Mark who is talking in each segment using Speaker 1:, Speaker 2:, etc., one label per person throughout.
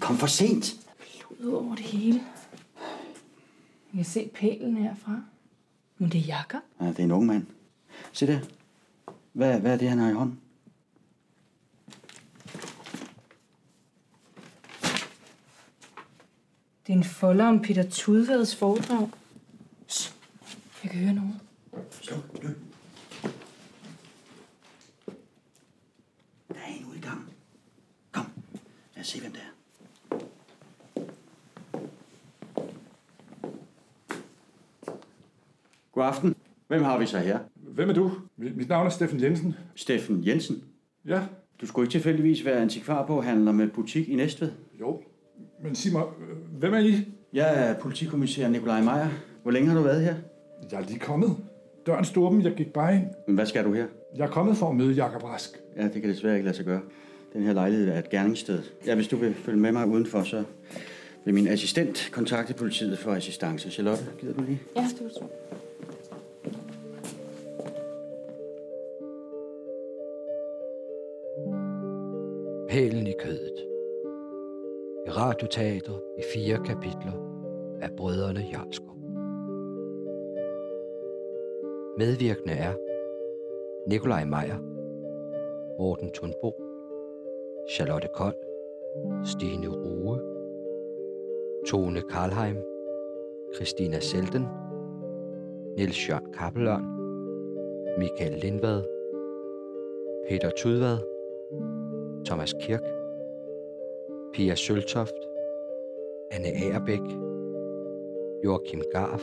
Speaker 1: kom for sent.
Speaker 2: Ud over det hele. Jeg kan se pælen herfra. Men det er jakker.
Speaker 1: Ja, det er en ung mand. Se der. Hvad, hvad er det, han har i hånden?
Speaker 2: Det er en folder om Peter Tudvads foredrag. Shh. Jeg kan høre noget.
Speaker 1: Sluk, løb. Der er en ude i gangen. Kom, lad os se, hvem det er. God aften. Hvem har vi så her?
Speaker 3: Hvem er du? Mi- Mit navn er Steffen Jensen.
Speaker 1: Steffen Jensen.
Speaker 3: Ja,
Speaker 1: Du skulle ikke tilfældigvis være antikvarboghandler med butik i Næstved?
Speaker 3: jo. Men sig mig, øh, hvem er I?
Speaker 1: Jeg er politikommissær Nikolaj Meier. Hvor længe har du været her?
Speaker 3: Jeg er lige kommet. Døren stod åben, jeg gik bare ind.
Speaker 1: Men hvad skal du her?
Speaker 3: Jeg er kommet for at møde Jakob Rask.
Speaker 1: Ja, det kan desværre ikke lade sig gøre. Den her lejlighed er et gerningssted. Ja, hvis du vil følge med mig udenfor, så vil min assistent kontakte politiet for assistance. Charlotte, gider du lige?
Speaker 2: Ja, det var så.
Speaker 4: Pælen i kødet. Et radioteater i fire kapitler af brødrene Jarlskov. Medvirkende er Nikolaj Meier, Morten Thunbo, Charlotte Kold, Stine Rue, Tone Karlheim, Christina Selten, Niels Jørgen Kappelørn, Michael Lindvad, Peter Tudvad, Thomas Kirk, Pia Søltoft, Anne Agerbæk, Joachim Garf,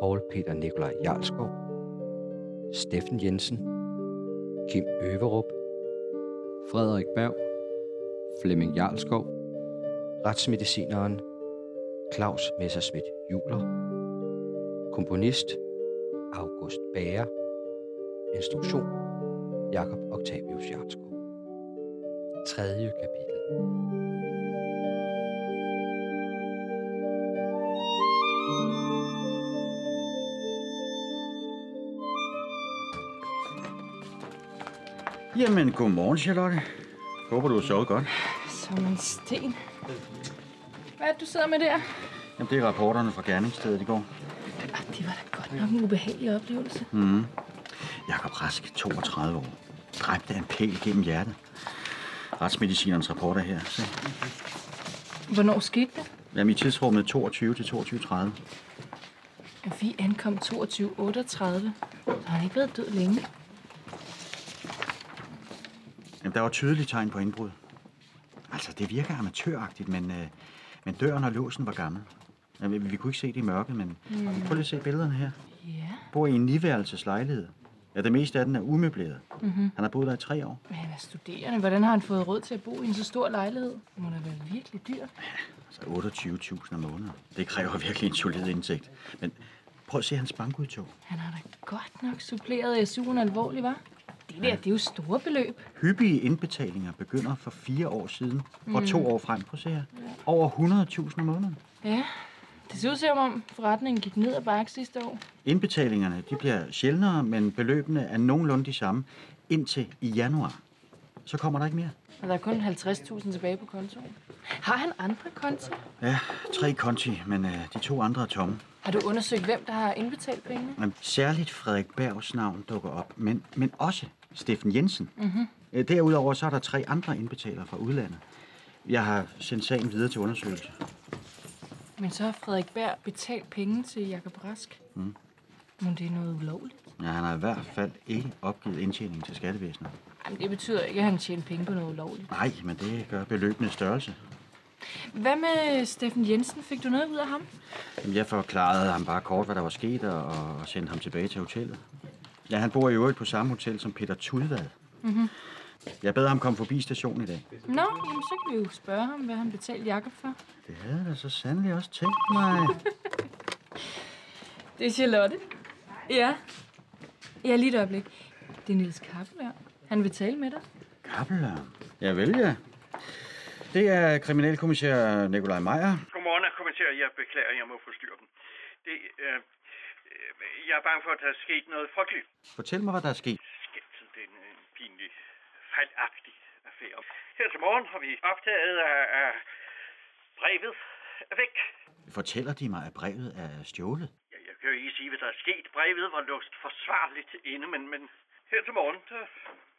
Speaker 4: Paul Peter Nikolaj Jarlskov, Steffen Jensen, Kim Øverup, Frederik Berg, Flemming Jarlskov, retsmedicineren Claus Messerschmidt Juler, komponist August Bager, instruktion Jakob Octavius Jarlskov. 3. kapitel.
Speaker 1: Jamen, godmorgen, Charlotte. Håber, du har sovet godt.
Speaker 2: Som en sten. Hvad er det, du sidder med der?
Speaker 1: Jamen, det er rapporterne fra gerningsstedet i går.
Speaker 2: Ah, det var da godt nok en ubehagelig oplevelse.
Speaker 1: Jakob Rask, 32 år. Dræbt af en pæl gennem hjertet. Retsmedicinerens rapport er her. Se.
Speaker 2: Hvornår skete det?
Speaker 1: Jamen, i tidsrummet 22 til 22.30.
Speaker 2: Ja, vi ankom 22.38. Så har han ikke været død længe.
Speaker 1: Jamen, der var tydelige tegn på indbrud. Altså, det virker amatøragtigt, men, øh, men døren og låsen var gammel. Jamen, vi, vi kunne ikke se det i mørket, men mm. prøv lige at se billederne her.
Speaker 2: Ja,
Speaker 1: Bor i en niværelseslejlighed. Ja, det meste af den er umøbleret. Mm-hmm. Han har boet der i tre år.
Speaker 2: men han er studerende. Hvordan har han fået råd til at bo i en så stor lejlighed? Det må da være virkelig dyr.
Speaker 1: Altså 28.000 om måneden. Det kræver virkelig en solid indtægt. Men prøv at se hans bankudtog.
Speaker 2: Han har da godt nok suppleret SU'en alvorligt, var? Det der, det er jo store beløb.
Speaker 1: Hyppige indbetalinger begynder for fire år siden og to år frem. Prøv at se her. Over 100.000 om måneden.
Speaker 2: Ja, det ser ud som om forretningen gik ned ad bakke sidste år.
Speaker 1: Indbetalingerne de bliver sjældnere, men beløbene er nogenlunde de samme indtil i januar. Så kommer der ikke mere.
Speaker 2: Og der er kun 50.000 tilbage på kontoen. Har han andre konti?
Speaker 1: Ja, tre konti, men øh, de to andre er tomme.
Speaker 2: Har du undersøgt, hvem der har indbetalt pengene?
Speaker 1: Men særligt Frederik Bergs navn dukker op, men, men også Steffen Jensen. Mm-hmm. Derudover så er der tre andre indbetalere fra udlandet. Jeg har sendt sagen videre til undersøgelse.
Speaker 2: Men så har Frederik Berg betalt penge til Jakob Rask. Mm. Men det er noget ulovligt.
Speaker 1: Ja, han har i hvert fald ikke opgivet indtjeningen til skattevæsenet.
Speaker 2: Jamen, det betyder ikke, at han tjener penge på noget ulovligt.
Speaker 1: Nej, men det gør beløbende størrelse.
Speaker 2: Hvad med Steffen Jensen? Fik du noget ud af ham?
Speaker 1: Jamen, Jeg forklarede ham bare kort, hvad der var sket, og, og sendte ham tilbage til hotellet. Ja, han bor i øvrigt på samme hotel som Peter Tudvad. Mm-hmm. Jeg bad ham komme forbi stationen i dag.
Speaker 2: Nå, jamen, så kan vi jo spørge ham, hvad han betalte Jakob for.
Speaker 1: Det havde jeg da så sandelig også tænkt mig.
Speaker 2: Det er Charlotte. Ja. Ja, lige et øjeblik. Det er Niels Kappelær. Han vil tale med dig.
Speaker 1: Kappelørn. Ja, vel ja. Det er kriminalkommissær Nikolaj Meier.
Speaker 5: Godmorgen, herr kommissær. Jeg beklager, jeg må forstyrre dem. Det, øh, øh, jeg er bange for, at der er sket noget frygteligt.
Speaker 1: Fortæl mig, hvad der er sket.
Speaker 5: Skæmtet, det er en, en pinlig, fejlagtig øh, affære. Her til morgen har vi optaget af, af brevet er væk.
Speaker 1: Fortæller de mig, at brevet er stjålet?
Speaker 5: Ja, jeg kan jo ikke sige, hvad der er sket. Brevet var låst forsvarligt inde, men, men her til morgen der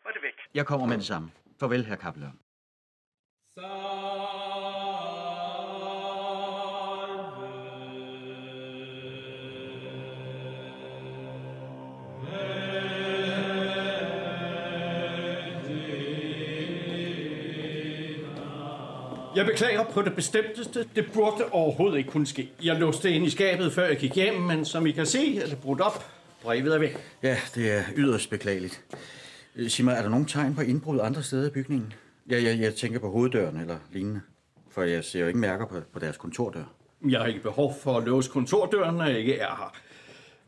Speaker 5: var det væk.
Speaker 1: Jeg kommer med det samme. Farvel, herr Kappelørn.
Speaker 6: Jeg beklager på det bestemteste. Det burde overhovedet ikke kunne ske. Jeg låste det ind i skabet, før jeg gik hjem, men som I kan se, er det brudt op. Brevet er væk.
Speaker 1: Ja, det er yderst beklageligt. Øh, Sig mig, er der nogen tegn på indbrud andre steder i bygningen? Ja, jeg, jeg tænker på hoveddøren eller lignende. For jeg ser jo ikke mærker på, på deres kontordør.
Speaker 6: Jeg har ikke behov for at låse kontordøren, når jeg ikke er her.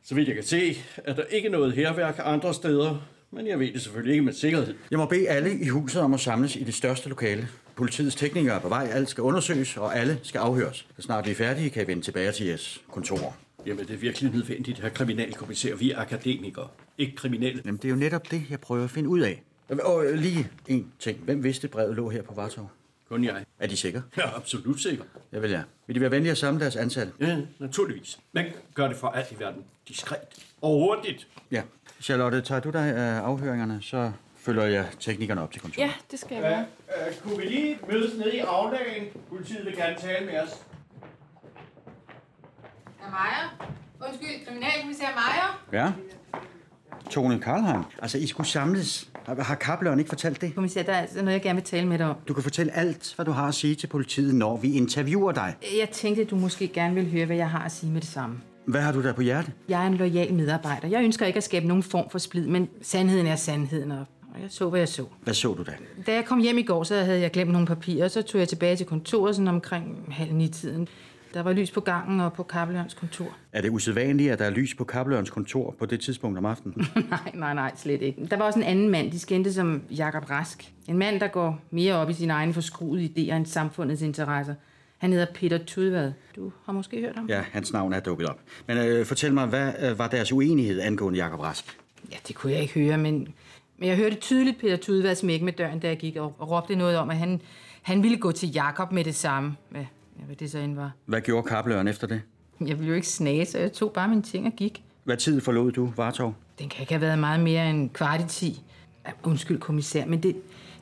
Speaker 6: Så vidt jeg kan se, er der ikke noget herværk andre steder, men jeg ved det selvfølgelig ikke med sikkerhed.
Speaker 1: Jeg må bede alle i huset om at samles i det største lokale. Politiets teknikere er på vej, alt skal undersøges, og alle skal afhøres. Så snart vi er færdige, kan I vende tilbage til jeres kontor.
Speaker 6: Jamen, det er virkelig nødvendigt, herr kriminalkommissær. Vi er akademikere, ikke kriminelle.
Speaker 1: Jamen, det er jo netop det, jeg prøver at finde ud af. Og- Og øh, lige en ting. Hvem vidste, brevet lå her på Vartov?
Speaker 6: Kun jeg.
Speaker 1: Er de sikre?
Speaker 6: Jeg er absolut sikker.
Speaker 1: Jeg vil ja. Vil de være venlige at samle deres ansatte?
Speaker 6: Ja, naturligvis. Men gør det for alt i verden diskret og hurtigt.
Speaker 1: Ja. Charlotte, tager du dig af afhøringerne, så følger jeg teknikerne op til kontoret.
Speaker 2: Ja, det skal jeg være.
Speaker 6: Øh, kunne vi lige mødes nede i afdagen? Politiet vil gerne tale med os.
Speaker 7: Herr Meier? Undskyld, kriminalkommissær Meier?
Speaker 1: Ja. Tone Karlheim. Altså, I skulle samles. Har, har kapløren ikke fortalt det?
Speaker 7: Kommissær, der er altså noget, jeg gerne vil tale med dig om.
Speaker 1: Du kan fortælle alt, hvad du har at sige til politiet, når vi interviewer dig.
Speaker 7: Jeg tænkte, du måske gerne vil høre, hvad jeg har at sige med det samme.
Speaker 1: Hvad har du der på hjerte?
Speaker 7: Jeg er en lojal medarbejder. Jeg ønsker ikke at skabe nogen form for splid, men sandheden er sandheden, og og jeg så, hvad jeg så.
Speaker 1: Hvad så du da?
Speaker 7: Da jeg kom hjem i går, så havde jeg glemt nogle papirer, og så tog jeg tilbage til kontoret sådan omkring halv ni tiden. Der var lys på gangen og på Kappelørns kontor.
Speaker 1: Er det usædvanligt, at der er lys på kaplørens kontor på det tidspunkt om aftenen?
Speaker 7: nej, nej, nej, slet ikke. Der var også en anden mand, de skændte som Jakob Rask. En mand, der går mere op i sine egne forskruede idéer end samfundets interesser. Han hedder Peter Tudvad. Du har måske hørt om ham?
Speaker 1: ja, hans navn er dukket op. Men øh, fortæl mig, hvad øh, var deres uenighed angående Jakob Rask?
Speaker 7: Ja, det kunne jeg ikke høre, men, men jeg hørte tydeligt Peter Tudvad smække med døren, da jeg gik og, og råbte noget om, at han, han ville gå til Jakob med det samme. Ja, ja, hvad det så end var.
Speaker 1: Hvad gjorde kapløren efter det?
Speaker 7: Jeg ville jo ikke snage, så jeg tog bare mine ting og gik.
Speaker 1: Hvad tid forlod du, Vartov?
Speaker 7: Den kan ikke have været meget mere end kvart i ti. Ja, Undskyld, kommissær, men det,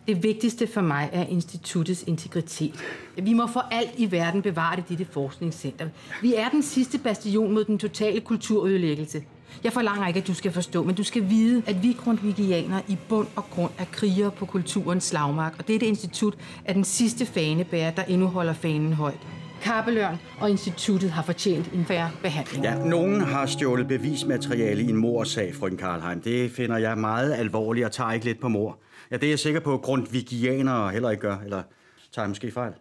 Speaker 7: det vigtigste for mig er instituttets integritet. Vi må for alt i verden bevare det dette forskningscenter. Vi er den sidste bastion mod den totale kulturødelæggelse. Jeg forlanger ikke, at du skal forstå, men du skal vide, at vi grundvigianere i bund og grund er krigere på kulturens slagmark, og dette institut er den sidste fanebærer, der endnu holder fanen højt. Kappeløren og instituttet har fortjent en færre behandling.
Speaker 1: Ja, nogen har stjålet bevismateriale i en morsag, frøken Karlheim. Det finder jeg meget alvorligt og tager ikke lidt på mor. Ja, det er jeg sikker på, at grundvigianere heller ikke gør, eller tager jeg måske fejl.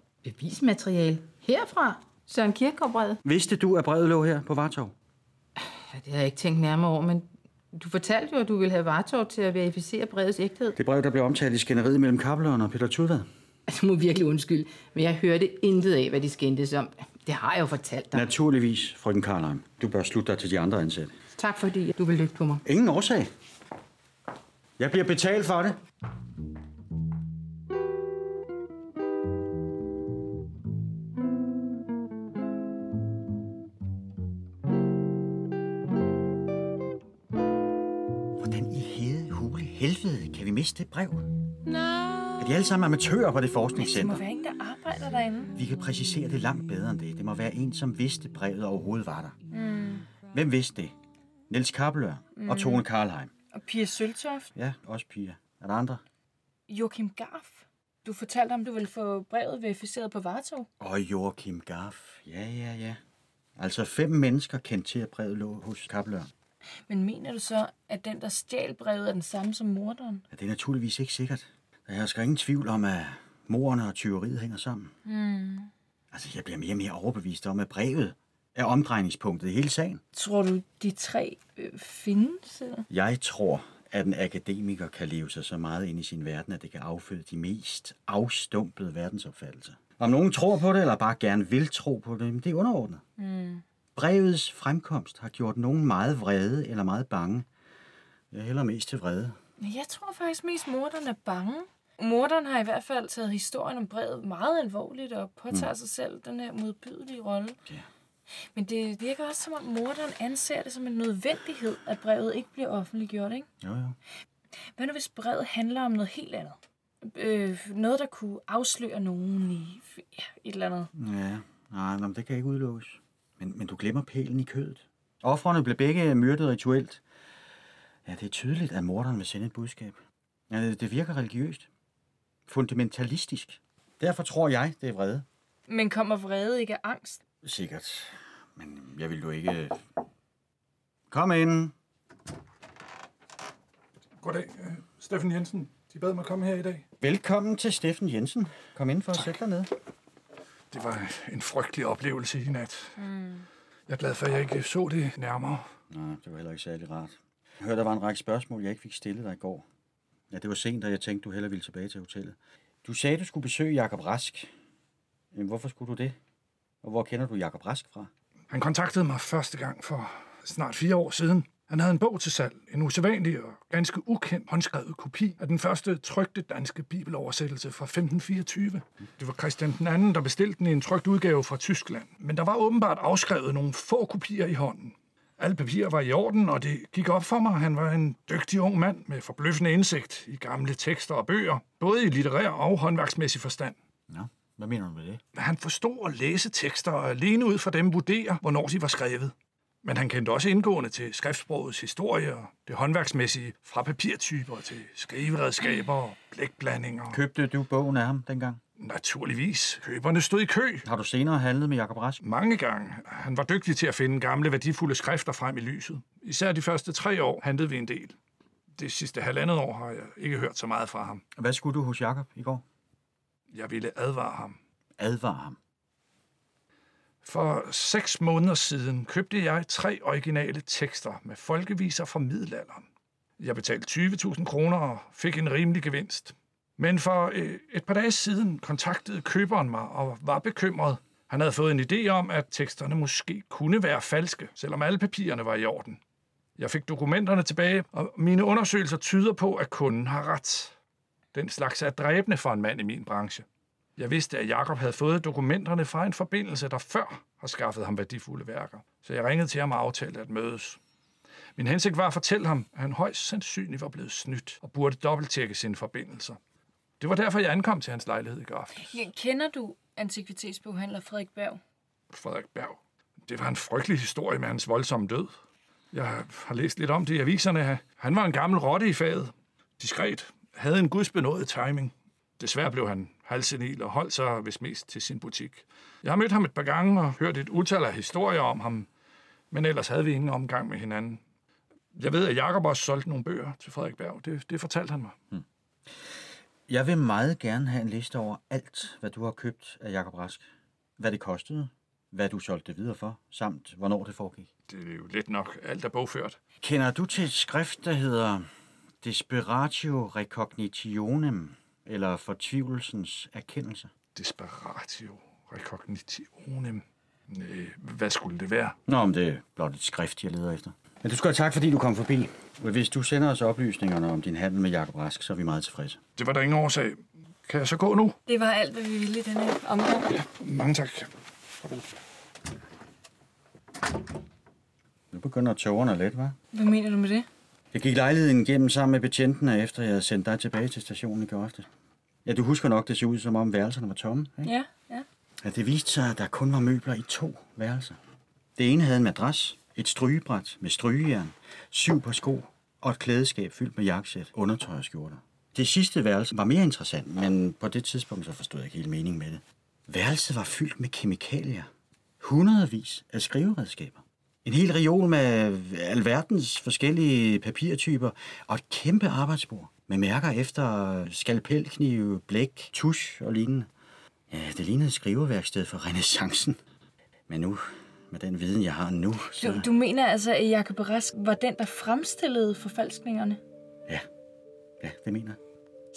Speaker 7: Bevismateriale herfra? Søren Kierkegaard-brevet?
Speaker 1: Vidste du, at brevet lå her på Vartov?
Speaker 7: Ja, det har jeg ikke tænkt nærmere over, men du fortalte jo, at du ville have Vartov til at verificere brevets ægthed.
Speaker 1: Det brev, der blev omtalt i skænderiet mellem Kapleren og Peter Tudvad.
Speaker 7: Altså, du må virkelig undskylde, men jeg hørte intet af, hvad de skændtes om. Det har jeg jo fortalt dig.
Speaker 1: Naturligvis, frøken Karlheim. Du bør slutte dig til de andre ansatte.
Speaker 7: Tak fordi du vil lytte på mig.
Speaker 1: Ingen årsag. Jeg bliver betalt for det. Hvordan i hede hule helvede kan vi miste det brev?
Speaker 2: Nej.
Speaker 1: Er de alle sammen amatører på det
Speaker 2: Det må
Speaker 1: forskningscenter?
Speaker 2: være en, der arbejder derinde.
Speaker 1: Vi kan præcisere det langt bedre end det. Det må være en, som vidste brevet overhovedet var der. Mm. Hvem vidste det? Niels Kappelør mm. og Tone Karlheim.
Speaker 2: Og Pia Søltoft,
Speaker 1: Ja, også piger. Er der andre?
Speaker 2: Joachim Garf. Du fortalte om, du ville få brevet verificeret på Vartov.
Speaker 1: Og Joachim Garf. Ja, ja, ja. Altså fem mennesker kendte til, at brevet lå hos Kaplør.
Speaker 2: Men mener du så, at den, der stjal brevet, er den samme som morderen?
Speaker 1: Ja, det er naturligvis ikke sikkert. Der hersker ingen tvivl om, at morerne og tyveriet hænger sammen. Mm. Altså, jeg bliver mere og mere overbevist om, at brevet er omdrejningspunktet i hele sagen.
Speaker 2: Tror du, de tre øh, findes? Eller?
Speaker 1: Jeg tror, at en akademiker kan leve sig så meget ind i sin verden, at det kan afføde de mest afstumpede verdensopfattelser. Om nogen tror på det, eller bare gerne vil tro på det, jamen, det er underordnet. Mm. Brevets fremkomst har gjort nogen meget vrede eller meget bange. Jeg hælder mest til vrede.
Speaker 2: Men jeg tror faktisk mest, morderen er bange. Morderen har i hvert fald taget historien om brevet meget alvorligt og påtager mm. sig selv den her modbydelige rolle.
Speaker 1: Ja.
Speaker 2: Men det virker også som om morderen anser det som en nødvendighed, at brevet ikke bliver offentliggjort, ikke?
Speaker 1: Jo, jo.
Speaker 2: Hvad nu hvis brevet handler om noget helt andet? Øh, noget, der kunne afsløre nogen i ja, et eller andet.
Speaker 1: Ja, nej, nå, men det kan ikke udelukkes. Men, men du glemmer pælen i kødet. Offrene blev begge myrdet rituelt. Ja, det er tydeligt, at morderen vil sende et budskab. Ja, det, det virker religiøst. Fundamentalistisk. Derfor tror jeg, det er vrede.
Speaker 2: Men kommer vrede ikke af angst?
Speaker 1: Sikkert. Men jeg vil jo ikke... Kom ind.
Speaker 3: Goddag, øh, Steffen Jensen. De bad mig komme her i dag.
Speaker 1: Velkommen til Steffen Jensen. Kom ind for at sætte dig ned.
Speaker 3: Det var en frygtelig oplevelse i nat. Mm. Jeg er glad for, at jeg ikke så det nærmere.
Speaker 1: Nej, det var heller ikke særlig rart. Jeg hørte, der var en række spørgsmål, jeg ikke fik stillet dig i går. Ja, det var sent, og jeg tænkte, du hellere ville tilbage til hotellet. Du sagde, du skulle besøge Jakob Rask. Jamen, hvorfor skulle du det? Og hvor kender du Jakob Rask fra?
Speaker 3: Han kontaktede mig første gang for snart fire år siden. Han havde en bog til salg, en usædvanlig og ganske ukendt håndskrevet kopi af den første trygte danske bibeloversættelse fra 1524. Det var Christian den anden, der bestilte den i en trygt udgave fra Tyskland. Men der var åbenbart afskrevet nogle få kopier i hånden. Alle papirer var i orden, og det gik op for mig, at han var en dygtig ung mand med forbløffende indsigt i gamle tekster og bøger, både i litterær og håndværksmæssig forstand.
Speaker 1: Nå, hvad mener du med det?
Speaker 3: Han forstod at læse tekster og alene ud fra dem vurdere, hvornår de var skrevet. Men han kendte også indgående til skriftsprogets historie og det håndværksmæssige fra papirtyper til skriveredskaber og blækblandinger.
Speaker 1: Købte du bogen af ham dengang?
Speaker 3: Naturligvis. Køberne stod i kø.
Speaker 1: Har du senere handlet med Jakob Rask?
Speaker 3: Mange gange. Han var dygtig til at finde gamle, værdifulde skrifter frem i lyset. Især de første tre år handlede vi en del. Det sidste halvandet år har jeg ikke hørt så meget fra ham.
Speaker 1: Hvad skulle du hos Jakob i går?
Speaker 3: Jeg ville advare ham.
Speaker 1: Advare ham.
Speaker 3: For seks måneder siden købte jeg tre originale tekster med folkeviser fra middelalderen. Jeg betalte 20.000 kroner og fik en rimelig gevinst. Men for øh, et par dage siden kontaktede køberen mig og var bekymret. Han havde fået en idé om, at teksterne måske kunne være falske, selvom alle papirerne var i orden. Jeg fik dokumenterne tilbage, og mine undersøgelser tyder på, at kunden har ret. Den slags er dræbende for en mand i min branche. Jeg vidste, at Jakob havde fået dokumenterne fra en forbindelse, der før har skaffet ham værdifulde værker, så jeg ringede til ham og aftalte at mødes. Min hensigt var at fortælle ham, at han højst sandsynligt var blevet snydt og burde dobbelttjekke sine forbindelser. Det var derfor, jeg ankom til hans lejlighed i går aftes.
Speaker 2: Ja, Kender du antikvitetsboghandler Frederik Berg?
Speaker 3: Frederik Berg. Det var en frygtelig historie med hans voldsomme død. Jeg har læst lidt om det i aviserne. Han var en gammel rotte i faget. Diskret. Havde en gudsbenået timing. Desværre blev han halsenil og holdt sig vist mest til sin butik. Jeg har mødt ham et par gange og hørt et utal af historier om ham, men ellers havde vi ingen omgang med hinanden. Jeg ved, at Jakob også solgte nogle bøger til Frederik Berg. Det, det fortalte han mig.
Speaker 1: Jeg vil meget gerne have en liste over alt, hvad du har købt af Jakob Rask. Hvad det kostede, hvad du solgte det videre for, samt hvornår det foregik.
Speaker 3: Det er jo lidt nok. Alt er bogført.
Speaker 1: Kender du til et skrift, der hedder Desperatio Recognitionem, eller Fortvivlelsens Erkendelse?
Speaker 3: Desperatio recognitionem. Næh, hvad skulle det være?
Speaker 1: Nå, men det er blot et skrift, jeg leder efter. Men du skal have tak, fordi du kom forbi. Hvis du sender os oplysningerne om din handel med Jakob Rask, så er vi meget tilfredse.
Speaker 3: Det var der ingen årsag. Kan jeg så gå nu?
Speaker 2: Det var alt, hvad vi ville i denne omgang.
Speaker 3: Mange tak.
Speaker 1: Nu begynder tårerne lidt, hva'?
Speaker 2: Hvad mener du med det?
Speaker 1: Jeg gik lejligheden igennem sammen med betjentene, efter jeg havde sendt dig tilbage til stationen i går aftes. Ja, du husker nok, det så ud, som om værelserne var tomme. Ikke?
Speaker 2: Ja, ja.
Speaker 1: At det viste sig, at der kun var møbler i to værelser. Det ene havde en madras, et strygebræt med strygejern, syv par sko og et klædeskab fyldt med jakkesæt, undertøj og skjorter. Det sidste værelse var mere interessant, men på det tidspunkt så forstod jeg ikke helt meningen med det. Værelset var fyldt med kemikalier. Hundredvis af skriveredskaber. En hel reol med alverdens forskellige papirtyper og et kæmpe arbejdsbord med mærker efter skalpelknive, blæk, tusch og lignende. Ja, det lignede et skriveværksted for renaissancen. Men nu, med den viden, jeg har nu, så...
Speaker 2: Du, du mener altså, at Jacob Rask var den, der fremstillede forfalskningerne?
Speaker 1: Ja. ja, det mener jeg.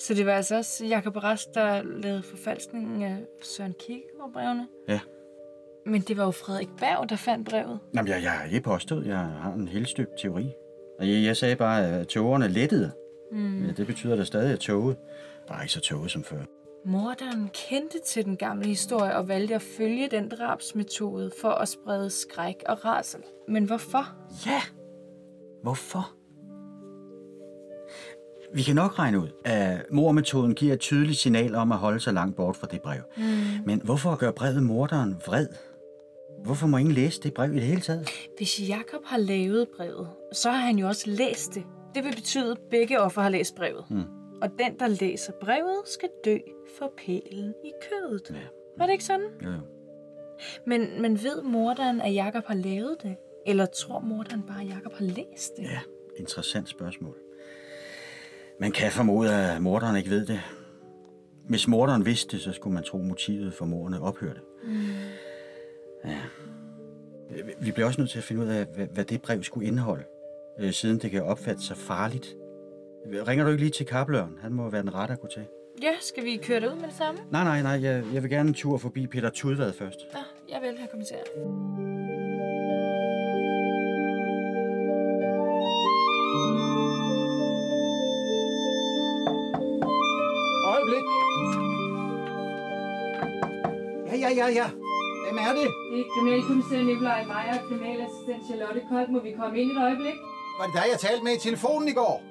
Speaker 2: Så det var altså også Jacob Rask, der lavede forfalskningen af Søren Kierkegaard-brevene?
Speaker 1: Ja.
Speaker 2: Men det var jo Frederik Berg, der fandt brevet.
Speaker 1: Jamen, jeg, jeg har ikke påstået, jeg har en helstøbt teori. Og jeg, jeg sagde bare, at tågerne lettede. Mm. Ja, det betyder da stadig, at toget bare ikke så toget som før.
Speaker 2: Morderen kendte til den gamle historie og valgte at følge den drabsmetode for at sprede skræk og rasel. Men hvorfor?
Speaker 1: Ja! Hvorfor? Vi kan nok regne ud, at mormetoden giver et tydeligt signal om at holde sig langt bort fra det brev. Mm. Men hvorfor gør brevet morderen vred? Hvorfor må ingen læse det brev i det hele taget?
Speaker 2: Hvis Jakob har lavet brevet, så har han jo også læst det. Det vil betyde, at begge offer har læst brevet. Mm. Og den, der læser brevet, skal dø for pælen i kødet. Ja. Var det ikke sådan?
Speaker 1: Jo, jo.
Speaker 2: Men, men ved morderen, at Jakob har lavet det? Eller tror morderen bare, at Jakob har læst det?
Speaker 1: Ja, interessant spørgsmål. Man kan formode, at morderen ikke ved det. Hvis morderen vidste det, så skulle man tro, at motivet for morderne ophørte. Mm. Ja. Vi- Vi bliver også nødt til at finde ud af, hvad- hvad det brev skulle indeholde, øh, siden det kan opfattes så farligt. Ringer du ikke lige til kapløren? Han må være den rette at gå til.
Speaker 2: Ja, skal vi køre det ud med det samme?
Speaker 1: Nej, nej, nej. Jeg, jeg vil gerne en tur forbi Peter Tudvad først.
Speaker 2: Ja, jeg vil have kommenteret.
Speaker 8: Øjeblik.
Speaker 1: Ja, ja, ja, ja. Hvem er det?
Speaker 9: Det er kriminalkommissær Nikolaj Meyer og kriminalassistent Charlotte Kold. Må vi komme ind et øjeblik?
Speaker 6: Var det dig, jeg talte med i telefonen i går?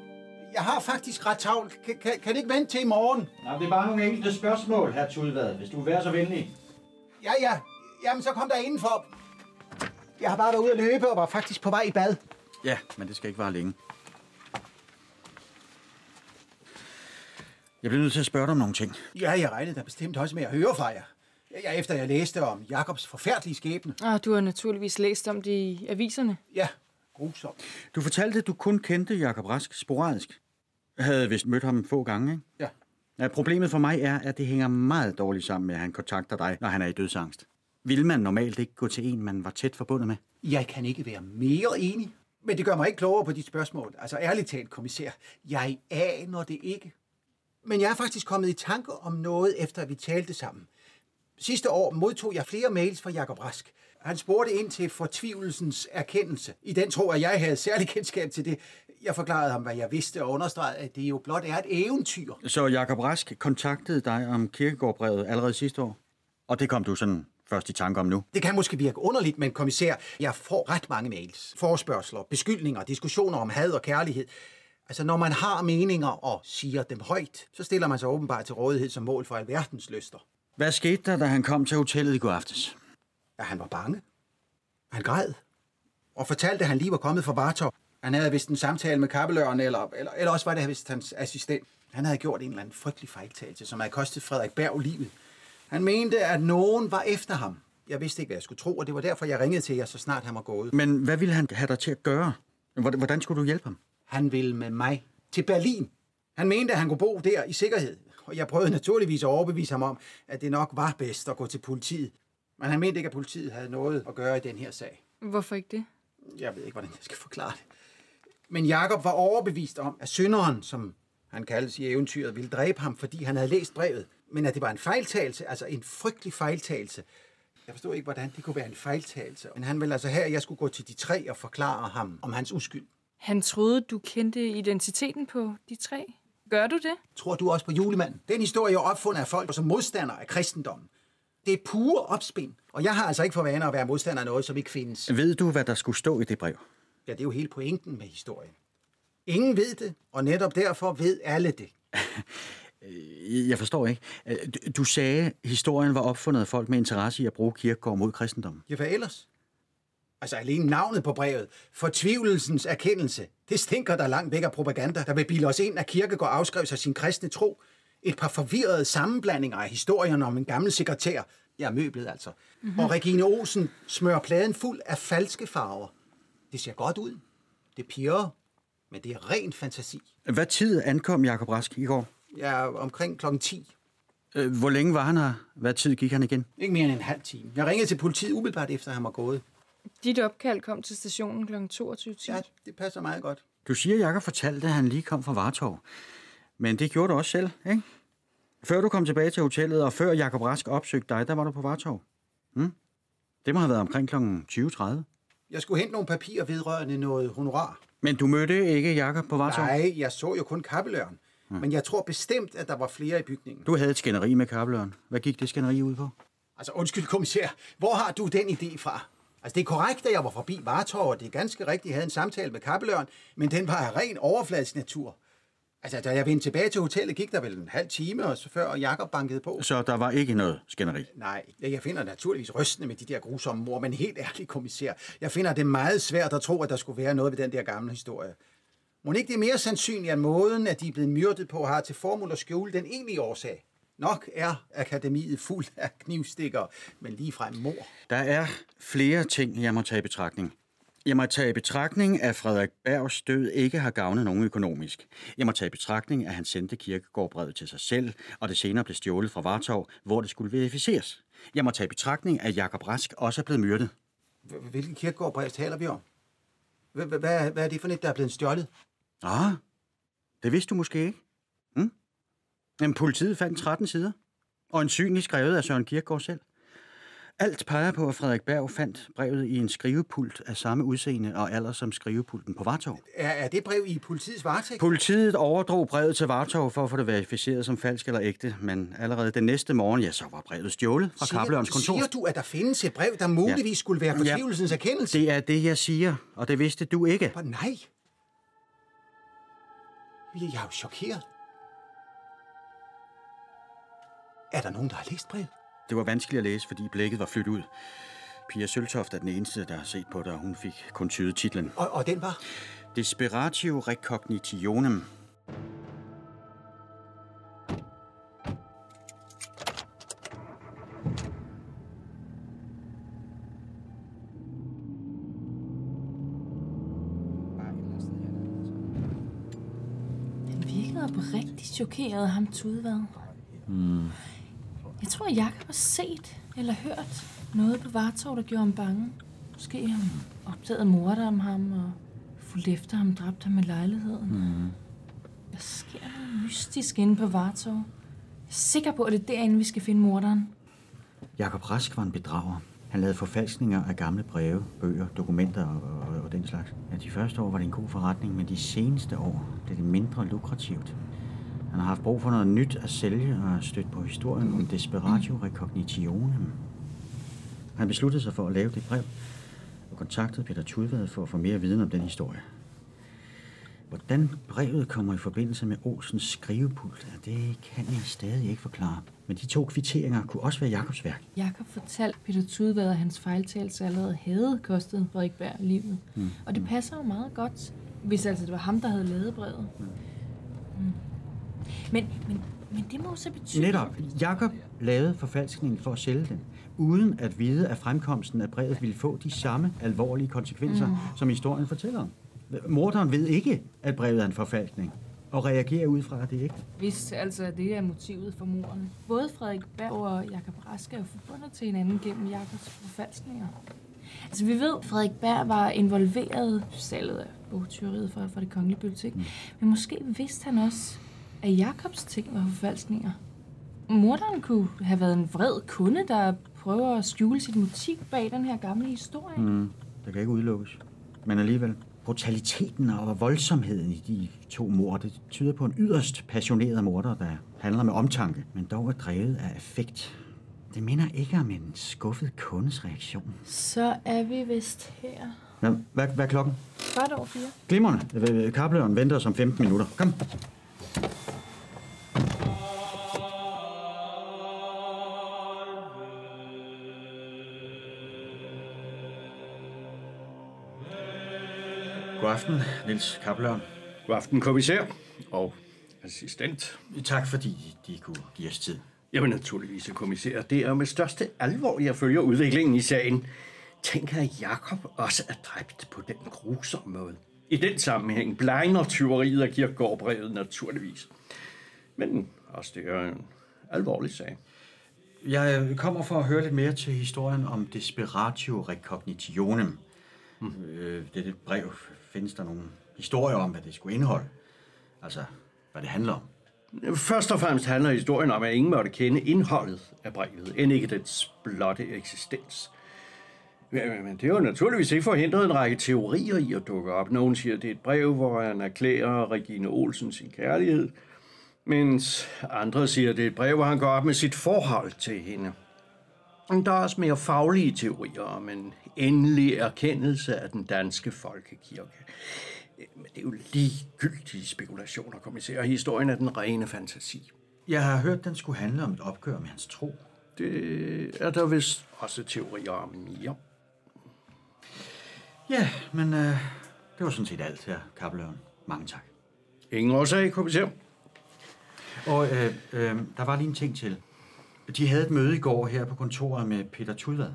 Speaker 6: Jeg har faktisk ret travlt. Kan, kan, kan det ikke vente til i morgen?
Speaker 1: Nej, det er bare nogle enkelte spørgsmål, herr Tudvad, hvis du vil være så venlig.
Speaker 6: Ja, ja. Jamen, så kom der indenfor. Jeg har bare været ude at løbe og var faktisk på vej i bad.
Speaker 1: Ja, men det skal ikke vare længe. Jeg bliver nødt til at spørge dig om nogle ting.
Speaker 6: Ja, jeg regnede da bestemt også med at høre fra jer. Ja, efter jeg læste om Jakobs forfærdelige skæbne.
Speaker 2: Ah, du har naturligvis læst om det i aviserne.
Speaker 6: Ja, grusomt.
Speaker 1: Du fortalte, at du kun kendte Jakob Rask sporadisk. Jeg havde vist mødt ham få gange, ikke?
Speaker 6: Ja.
Speaker 1: Ja, problemet for mig er, at det hænger meget dårligt sammen med, at han kontakter dig, når han er i dødsangst. Vil man normalt ikke gå til en, man var tæt forbundet med?
Speaker 6: Jeg kan ikke være mere enig. Men det gør mig ikke klogere på dit spørgsmål. Altså ærligt talt, kommissær. Jeg aner det ikke. Men jeg er faktisk kommet i tanke om noget, efter at vi talte sammen. Sidste år modtog jeg flere mails fra Jakob Rask. Han spurgte ind til fortvivlelsens erkendelse. I den tro, at jeg havde særlig kendskab til det. Jeg forklarede ham, hvad jeg vidste, og understregede, at det jo blot er et eventyr.
Speaker 1: Så Jakob Rask kontaktede dig om kirkegårdbrevet allerede sidste år? Og det kom du sådan først i tanke om nu?
Speaker 6: Det kan måske virke underligt, men kommissær, jeg får ret mange mails, forspørgseler, beskyldninger, diskussioner om had og kærlighed. Altså, når man har meninger og siger dem højt, så stiller man sig åbenbart til rådighed som mål for alverdens lyster.
Speaker 1: Hvad skete der, da han kom til hotellet i går aftes?
Speaker 6: Ja, han var bange. Han græd. Og fortalte, at han lige var kommet fra Vartov. Han havde vist en samtale med kappeløren, eller, eller, eller også var det vist hans assistent. Han havde gjort en eller anden frygtelig fejltagelse, som havde kostet Frederik Berg livet. Han mente, at nogen var efter ham. Jeg vidste ikke, hvad jeg skulle tro, og det var derfor, jeg ringede til jer, så snart han var gået.
Speaker 1: Men hvad ville han have dig til at gøre? Hvordan hvordan skulle du hjælpe ham?
Speaker 6: Han ville med mig til Berlin. Han mente, at han kunne bo der i sikkerhed. Og jeg prøvede naturligvis at overbevise ham om, at det nok var bedst at gå til politiet. Men han mente ikke, at politiet havde noget at gøre i den her sag.
Speaker 2: Hvorfor ikke det?
Speaker 6: Jeg ved ikke, hvordan jeg skal forklare det. Men Jakob var overbevist om, at synderen, som han kaldes i eventyret, ville dræbe ham, fordi han havde læst brevet. Men at det var en fejltagelse, altså en frygtelig fejltagelse. Jeg forstod ikke, hvordan det kunne være en fejltagelse. Men han ville altså have, at jeg skulle gå til de tre og forklare ham om hans uskyld.
Speaker 2: Han troede, du kendte identiteten på de tre. Gør du det?
Speaker 6: Tror du også på julemanden? Den historie er opfundet af folk som modstandere af kristendommen. Det er pure opspind, og jeg har altså ikke for vane at være modstander af noget, som ikke findes.
Speaker 1: Ved du, hvad der skulle stå i det brev?
Speaker 6: Ja, det er jo hele pointen med historien. Ingen ved det, og netop derfor ved alle det.
Speaker 1: Jeg forstår ikke. Øh, du- Du sagde, at historien var opfundet af folk med interesse i at bruge kirkegård mod kristendommen.
Speaker 6: Ja, hvad ellers? Altså alene navnet på brevet, fortvivlelsens erkendelse, det stinker der langt væk af propaganda, der vil bilde os ind, at Kirkegaard afskrev sig sin kristne tro. Et par forvirrede sammenblandinger af historierne om en gammel sekretær, ja, møblet altså, mm-hmm. og Regine Olsen smører pladen fuld af falske farver. Det ser godt ud, det pirrer, men det er ren fantasi.
Speaker 1: Hvad tid ankom Jakob Rask i går?
Speaker 6: Jeg er omkring klokken 10.
Speaker 1: Øh, Hvor længe var han her? Hvad tid gik han igen?
Speaker 6: Ikke mere end en halv time. Jeg ringede til politiet umiddelbart efter, at han var gået.
Speaker 2: Dit opkald kom til stationen kl. 22.10.
Speaker 6: Ja, det passer meget godt.
Speaker 1: Du siger, at Jakob fortalte, at han lige kom fra Vartov. Men det gjorde du også selv, ikke? Før du kom tilbage til hotellet, og før Jakob Rask opsøgte dig, der var du på Vartov. Hm? Det må have været omkring kl. 20.30.
Speaker 6: Jeg skulle hente nogle papirer vedrørende noget honorar.
Speaker 9: Men du mødte ikke Jakob på Vartov?
Speaker 1: Nej, jeg så jo kun kappeløren. Men jeg tror bestemt, at der var flere i bygningen.
Speaker 9: Du havde et skænderi med kappeløren. Hvad gik det skænderi ud på?
Speaker 1: Altså, undskyld, kommissær. Hvor har du den idé fra? Altså, det er korrekt, at jeg var forbi Vartov, og det er ganske rigtigt, at jeg havde en samtale med kappeløren, men den var af ren overfladisk natur. Altså, da jeg vendte tilbage til hotellet, gik der vel en halv time, og så før Jakob bankede på.
Speaker 9: Så der var ikke noget skænderi?
Speaker 1: Nej, jeg finder naturligvis rystende med de der grusomme mor, men helt ærligt, kommissær, jeg finder det meget svært at tro, at der skulle være noget ved den der gamle historie. Må ikke det er mere sandsynligt, at måden, at de er blevet myrdet på, har til formål at skjule den egentlige årsag? Nok er akademiet fuld af knivstikker, men ligefrem mor.
Speaker 9: Der er flere ting, jeg må tage i betragtning. Jeg må tage i betragtning, at Frederik Bergs død ikke har gavnet nogen økonomisk. Jeg må tage i betragtning, at han sendte kirkegårdbrevet til sig selv, og det senere blev stjålet fra Vartov, hvor det skulle verificeres. Jeg må tage i betragtning, at Jakob Rask også er blevet myrdet.
Speaker 1: H- Hvilken kirkegårdbrev taler vi om? H- h- Hvad hvad er det for et, der er blevet stjålet?
Speaker 9: Ah, det vidste du måske ikke. Hm? Men politiet fandt 13 sider, og en synlig skrevet af Søren Kierkegaard selv. Alt peger på, at Frederik Berg fandt brevet i en skrivepult af samme udseende og alder som skrivepulten på Vartov.
Speaker 1: Er, er det brev i politiets varetægt?
Speaker 9: Politiet overdrog brevet til Vartov for at få det verificeret som falsk eller ægte, men allerede den næste morgen, ja, så var brevet stjålet fra
Speaker 1: Siger-
Speaker 9: Kappelørens kontor.
Speaker 1: Siger du, at der findes et brev, der muligvis skulle være fortvivlelsens erkendelse?
Speaker 9: Det er det, jeg siger, og det vidste du ikke.
Speaker 1: Åh, nej. Jeg er jo chokeret. Er der nogen, der har læst brevet?
Speaker 9: Det var vanskeligt at læse, fordi blækket var flyttet ud. Pia Søltoft er den eneste, der har set på det, og hun fik kun tydet titlen.
Speaker 1: Og, og den var?
Speaker 9: Desperatio recognitionem.
Speaker 2: Han virkede oprigtigt chokeret af ham tudevad. Mm. Jeg tror, Jakob har set eller hørt noget på Vartov, der gjorde ham bange. Måske han opdagede morder om ham og fulgte efter ham, dræbte ham i lejligheden. Mm. Der sker noget mystisk inde på Vartov. Jeg er sikker på, at det er derinde, vi skal finde morderen.
Speaker 9: Jakob Rask var en bedrager. Han lavede forfalskninger af gamle breve, bøger, dokumenter og, og, og den slags. Ja, de første år var det en god forretning, men de seneste år blev det mindre lukrativt. Han har haft brug for noget nyt at sælge og er stødt på historien om Desperatio Recognitionem. Han besluttede sig for at lave det brev og kontaktede Peter Tudvad for at få mere viden om den historie. Hvordan brevet kommer i forbindelse med Olsens skrivepult, ja, det kan jeg stadig ikke forklare. Men de to kvitteringer kunne også være Jakobs værk.
Speaker 2: Jakob fortalte Peter Tudvad, at hans fejltagelse allerede havde kostet Frederik Berg livet. Mm. Og det passer jo meget godt, hvis altså det var ham, der havde lavet brevet. Mm. Men, men, men det må jo så betyde...
Speaker 9: Netop. Jakob lavede forfalskningen for at sælge den, uden at vide, at fremkomsten af brevet ville få de samme alvorlige konsekvenser, mm. som historien fortæller om. Morderen ved ikke, at brevet er en forfalskning, og reagerer ud fra, at det ikke.
Speaker 2: Hvis altså det er motivet for morderne. Både Frederik Berg og Jakob Rask er jo forbundet til hinanden gennem Jakobs forfalskninger. Altså vi ved, at Frederik Berg var involveret i salget af bogtyveriet fra, fra det kongelige bibliotek. Mm. Men måske vidste han også, at Jakobs ting var forfalskninger. Morderen kunne have været en vred kunde, der prøver at skjule sit motiv bag den her gamle historie. Mm.
Speaker 9: Det kan ikke udelukkes. Men alligevel, brutaliteten og voldsomheden i de to mord, det tyder på en yderst passioneret morder, der handler med omtanke, men dog er drevet af affekt. Det minder ikke om en skuffet kundes reaktion.
Speaker 2: Så er vi vist her.
Speaker 9: Nå, hvad, hvad er klokken?
Speaker 2: Godt over fire.
Speaker 9: Glimrende. Kapløren venter os om 15 minutter. Kom. God aften, Nils Kapløren.
Speaker 6: God aften, kommissær og assistent.
Speaker 9: Tak fordi de kunne give os tid.
Speaker 6: Jamen naturligvis, kommissær. Det er med største alvor, jeg følger udviklingen i sagen. Tænker, at Jakob også er dræbt på den grusomme måde. I den sammenhæng blegner tyveriet af kirkegårdbrevet naturligvis. Men også det er en alvorlig sag.
Speaker 9: Jeg øh, kommer for at høre lidt mere til historien om Desperatio Recognitionem. Mm. Øh, det, det brev, findes der nogle historier om, hvad det skulle indeholde? Altså, hvad det handler om?
Speaker 6: Først og fremmest handler historien om, at ingen måtte kende indholdet af brevet, end ikke dets blotte eksistens. Ja, men det har jo naturligvis ikke forhindret en række teorier i at dukke op. Nogen siger, at det er et brev, hvor han erklærer Regine Olsen sin kærlighed, mens andre siger, at det er et brev, hvor han går op med sit forhold til hende. Men Der er også mere faglige teorier om en endelig erkendelse af den danske folkekirke. Men det er jo ligegyldige spekulationer, kommissær. Historien er den rene fantasi.
Speaker 9: Jeg har hørt, den skulle handle om et opgør med hans tro.
Speaker 6: Det er der vist også teorier om, ja.
Speaker 9: Ja, men øh, det var sådan set alt her, Kappeløven. Mange tak.
Speaker 6: Ingen årsag, kommissær.
Speaker 9: Og øh, øh, der var lige en ting til. De havde et møde i går her på kontoret med Peter Tudvad.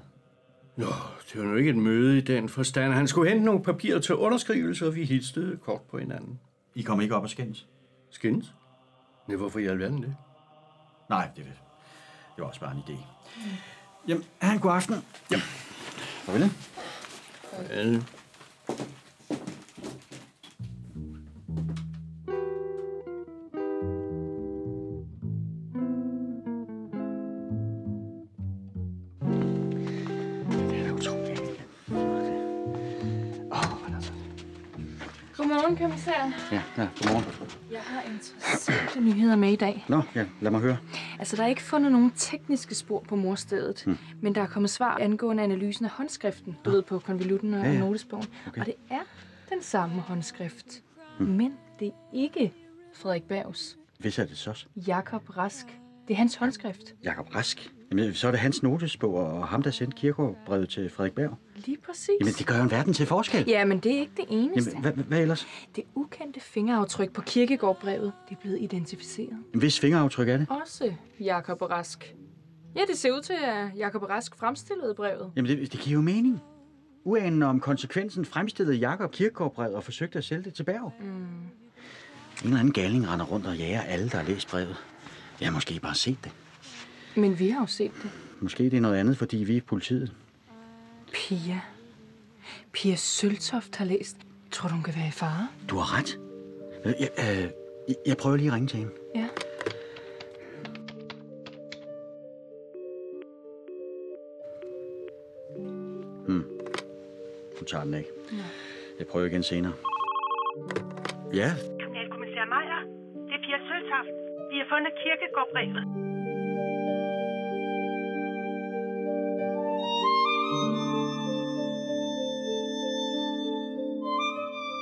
Speaker 6: Nå, det var nu ikke et møde i den forstand. Han skulle hente nogle papirer til underskrivelse, og vi hilste kort på hinanden.
Speaker 9: I kom ikke op og skændes?
Speaker 6: Skins? Nej, hvorfor i alverden det?
Speaker 9: Nej, det, det var også bare en idé. Jamen, have en god aften. Jamen. Farvel.
Speaker 6: Alle.
Speaker 2: Godmorgen, kommissær.
Speaker 9: Ja, ja, godmorgen.
Speaker 2: Jeg har interessante nyheder med i dag.
Speaker 9: Nå, ja, lad mig høre.
Speaker 2: Altså, der er ikke fundet nogen tekniske spor på morstedet, hmm. men der er kommet svar angående analysen af håndskriften, du ved, på konvolutten og
Speaker 9: Ja,
Speaker 2: ja,
Speaker 9: ja.
Speaker 2: notesbogen. Okay. Og det er den samme håndskrift, hmm. men det er ikke Frederik Bergs.
Speaker 9: Hvis er det så?
Speaker 2: Jakob Rask. Det er hans håndskrift.
Speaker 9: Jakob Rask. Jamen, så er det hans notesbog og ham, der sendte kirkegårdbrevet til Frederik Berg.
Speaker 2: Lige præcis.
Speaker 9: Jamen, det gør jo en verden til forskel.
Speaker 2: Ja, men det er ikke det eneste.
Speaker 9: Jamen, hvad, hvad- hvad ellers?
Speaker 2: Det ukendte fingeraftryk på kirkegårdbrevet, det er blevet identificeret.
Speaker 9: Hvis fingeraftryk er det?
Speaker 2: Også Jakob Rask. Ja, det ser ud til, at Jakob Rask fremstillede brevet.
Speaker 9: Jamen, det, det giver jo mening. Uanen om konsekvensen fremstillede Jakob kirkegårdbrevet og forsøgte at sælge det til Berg. Mm. En eller anden galning render rundt og jager alle, der har læst brevet. Jeg har måske bare set det.
Speaker 2: Men vi har jo set det.
Speaker 9: Måske det er noget andet, fordi vi er politiet.
Speaker 2: Pia. Pia Søltoft har læst. Tror du, hun kan være i fare?
Speaker 9: Du har ret. Øh, Jeg, øh, jeg- jeg prøver lige at ringe til hende.
Speaker 2: Ja.
Speaker 9: Du Hmm. tager den ikke. Ja. Jeg prøver igen senere. Ja,
Speaker 5: Kriminalkommissær Meier, det er Pia Søltoft. Vi har fundet kirkegårdbrevet.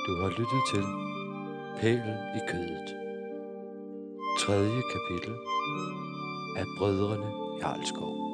Speaker 4: Du har lyttet til Pælen i kødet. Tredje kapitel af Brødrene Jarlskov.